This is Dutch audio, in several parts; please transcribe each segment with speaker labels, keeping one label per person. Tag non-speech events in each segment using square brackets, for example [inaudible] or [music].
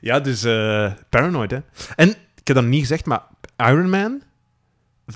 Speaker 1: Ja, dus eh, Paranoid, hè. En ik heb dat niet gezegd, maar Iron Man,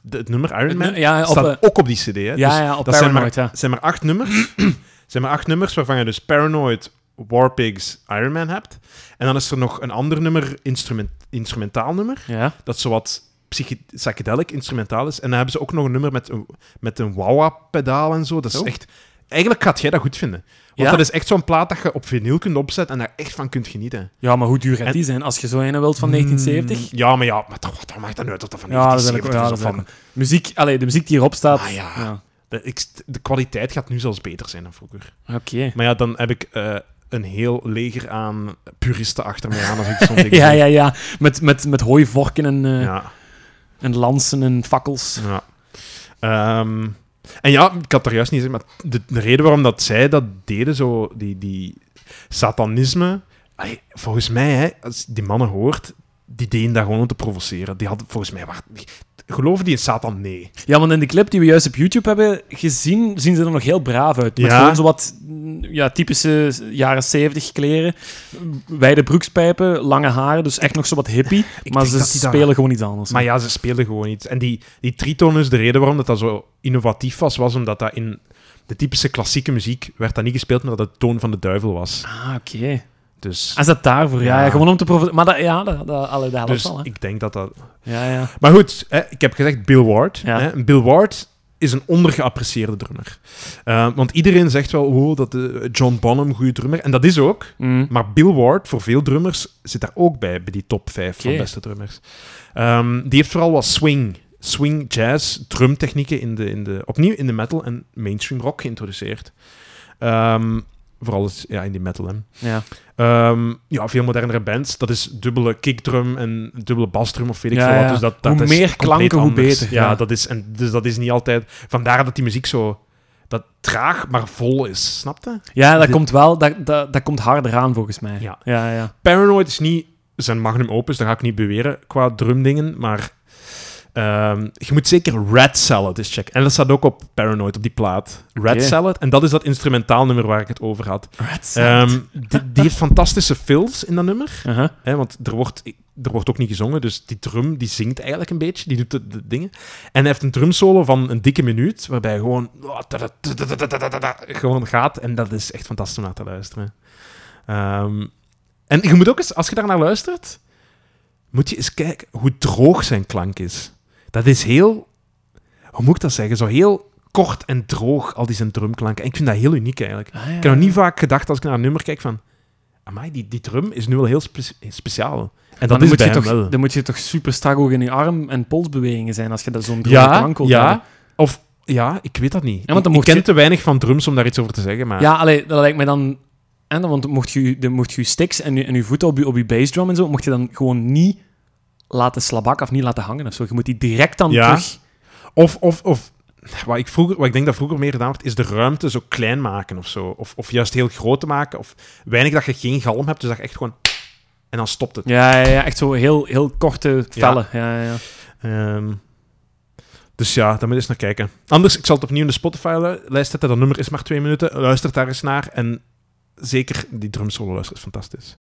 Speaker 1: de- het nummer Iron
Speaker 2: Het
Speaker 1: Man,
Speaker 2: nu- ja, op,
Speaker 1: staat
Speaker 2: eh,
Speaker 1: ook op die CD, hè. Dus
Speaker 2: ja, ja, op
Speaker 1: dat zijn
Speaker 2: Paranoid, ja.
Speaker 1: het zijn maar acht nummers. [clears throat] Het zijn maar acht nummers waarvan je dus Paranoid, Warpigs, Iron Man hebt. En dan is er nog een ander nummer, instrument, instrumentaal nummer,
Speaker 2: Ja.
Speaker 1: dat zowat psychi- psychedelic instrumentaal is. En dan hebben ze ook nog een nummer met een, met een wah-wah-pedaal en zo. Dat is
Speaker 2: Oh.
Speaker 1: echt... Eigenlijk gaat jij dat goed vinden. Want
Speaker 2: Ja?
Speaker 1: dat is echt zo'n plaat dat je op vinyl kunt opzetten en daar echt van kunt genieten.
Speaker 2: ja, maar hoe duur gaat
Speaker 1: En-
Speaker 2: die zijn als je zo een wilt van 1970?
Speaker 1: Mm, Ja, maar ja, maar toch, wat maakt dat nu uit dat dat van
Speaker 2: Ja, dat is eigenlijk
Speaker 1: 1970
Speaker 2: ja,
Speaker 1: is
Speaker 2: dat
Speaker 1: of
Speaker 2: is
Speaker 1: van...
Speaker 2: eigenlijk- Muziek, allee, de muziek die hierop staat.
Speaker 1: Ah, ja.
Speaker 2: ja.
Speaker 1: De, ik, de kwaliteit gaat nu zelfs beter zijn dan vroeger.
Speaker 2: Oké.
Speaker 1: Maar ja, dan heb ik eh, een heel leger aan puristen achter mij aan als
Speaker 2: [laughs]
Speaker 1: ik zo'n ding
Speaker 2: Ja,
Speaker 1: zeg.
Speaker 2: ja, ja. Met, met, met hooivorken en, eh,
Speaker 1: Ja,
Speaker 2: en lansen en fakkels.
Speaker 1: ja. Ehm, en ja, ik had er juist niet gezegd, maar de, de reden waarom dat zij dat deden, zo, die, die satanisme... ai, volgens mij, hè, als je die mannen hoort, die deden dat gewoon om te provoceren. Die hadden volgens mij... Waar, geloven die in Satan? Nee.
Speaker 2: Ja, want in de clip die we juist op YouTube hebben gezien, zien ze er nog heel braaf uit. Met
Speaker 1: Ja.
Speaker 2: gewoon zo wat mm, ja, typische jaren 70 kleren. Wijde broekspijpen, lange haren, dus echt nog zo wat hippie.
Speaker 1: Ik
Speaker 2: maar
Speaker 1: denk
Speaker 2: ze
Speaker 1: dat die daar-
Speaker 2: spelen gewoon iets anders.
Speaker 1: Maar ja, ze speelden gewoon iets. En die, die tritoon is de reden waarom dat, dat zo innovatief was, was omdat dat in de typische klassieke muziek werd dat niet gespeeld, maar dat het toon van de duivel was.
Speaker 2: Ah, oké.
Speaker 1: Dus,
Speaker 2: Is dat daarvoor? Ja,
Speaker 1: Ja.
Speaker 2: ja, gewoon om te provoceren. Maar dat, ja, dat, dat, allee, Ah, dat helpt
Speaker 1: dus
Speaker 2: wel, hè.
Speaker 1: ik denk dat dat...
Speaker 2: Ja, ja.
Speaker 1: Maar goed, hè, ik heb gezegd Bill Ward.
Speaker 2: Ja.
Speaker 1: Hè, Bill Ward is een ondergeapprecieerde drummer. Eh, want iedereen zegt wel, wow, dat de John Bonham, goede drummer. En dat is ook.
Speaker 2: Mm.
Speaker 1: Maar Bill Ward, voor veel drummers, zit daar ook bij, bij die top 5 van
Speaker 2: Oké.
Speaker 1: beste drummers. Ehm, die heeft vooral wat swing, swing jazz, drumtechnieken in de, in de, opnieuw in de metal en mainstream rock geïntroduceerd. Ehm, vooral is- ja, in die metal. Hè.
Speaker 2: Ja.
Speaker 1: Ehm, ja, veel modernere bands. Dat is dubbele kickdrum en dubbele basdrum of weet ik
Speaker 2: Ja,
Speaker 1: veel wat.
Speaker 2: ja.
Speaker 1: Dus dat, dat
Speaker 2: Hoe
Speaker 1: is
Speaker 2: meer
Speaker 1: compleet
Speaker 2: klanken, hoe
Speaker 1: anders.
Speaker 2: beter,
Speaker 1: Ja,
Speaker 2: ja.
Speaker 1: Dat is, en, dus dat is niet altijd... Vandaar dat die muziek zo dat traag, maar vol is. Snap je?
Speaker 2: Ja, dat
Speaker 1: Dit-
Speaker 2: komt wel, dat, dat, dat komt harder aan volgens mij.
Speaker 1: Ja.
Speaker 2: ja, ja.
Speaker 1: Paranoid is niet zijn magnum opus, dat ga ik niet beweren qua drumdingen, maar ehm, je moet zeker Red Salad eens checken. En dat staat ook op Paranoid, op die plaat. Red
Speaker 2: Oké.
Speaker 1: Salad, en dat is dat instrumentaal nummer waar ik het over had.
Speaker 2: Red
Speaker 1: Ehm, die, die heeft fantastische fills in dat nummer,
Speaker 2: Uh-huh.
Speaker 1: hè, want er wordt, er wordt ook niet gezongen, dus die drum die zingt eigenlijk een beetje, die doet de, de dingen. En hij heeft een drumsolo van een dikke minuut, waarbij hij gewoon, oh, gewoon gaat, en dat is echt fantastisch om naar te luisteren. Ehm, en je moet ook eens, als je daarnaar luistert, moet je eens kijken hoe droog zijn klank is. Dat is heel, hoe moet ik dat zeggen? Zo heel kort en droog, al die zijn drumklanken. En ik vind dat heel uniek eigenlijk.
Speaker 2: Ah, ja.
Speaker 1: Ik heb nog niet vaak gedacht als ik naar een nummer kijk van... Amai, die, die drum is nu wel heel spe- speciaal. En dat
Speaker 2: Maar
Speaker 1: is
Speaker 2: dan,
Speaker 1: bij
Speaker 2: moet
Speaker 1: hem
Speaker 2: je
Speaker 1: wel.
Speaker 2: toch, dan moet je toch super strak ook in je arm- en polsbewegingen zijn als je dat zo'n droge
Speaker 1: Ja,
Speaker 2: klank wilt hebben.
Speaker 1: ja. Of, ja, ik weet dat niet.
Speaker 2: Ja, want dan
Speaker 1: ik ik
Speaker 2: mocht
Speaker 1: ken
Speaker 2: je-
Speaker 1: te weinig van drums om daar iets over te zeggen, maar...
Speaker 2: Ja, allee, dat lijkt mij dan... En dan, want mocht je, dan mocht je je sticks en je, en je voeten op je, op je bassdrum en zo, mocht je dan gewoon niet laten slabakken of niet laten hangen of zo. Je moet die direct dan
Speaker 1: Ja.
Speaker 2: terug...
Speaker 1: Of, of, of wat, ik vroeger, wat ik denk dat vroeger meer gedaan wordt, is de ruimte zo klein maken of zo. Of, of juist heel groot te maken. Of weinig dat je geen galm hebt, dus dat je echt gewoon... En dan stopt het.
Speaker 2: Ja, ja, ja, echt zo heel, heel korte vellen. Ja. Ja, ja,
Speaker 1: Ehm, dus ja, daar moet je eens naar kijken. Anders, ik zal het opnieuw in de Spotify-lijst zetten. Dat nummer is maar twee minuten. Luister daar eens naar. En zeker die drumsolo luistert fantastisch.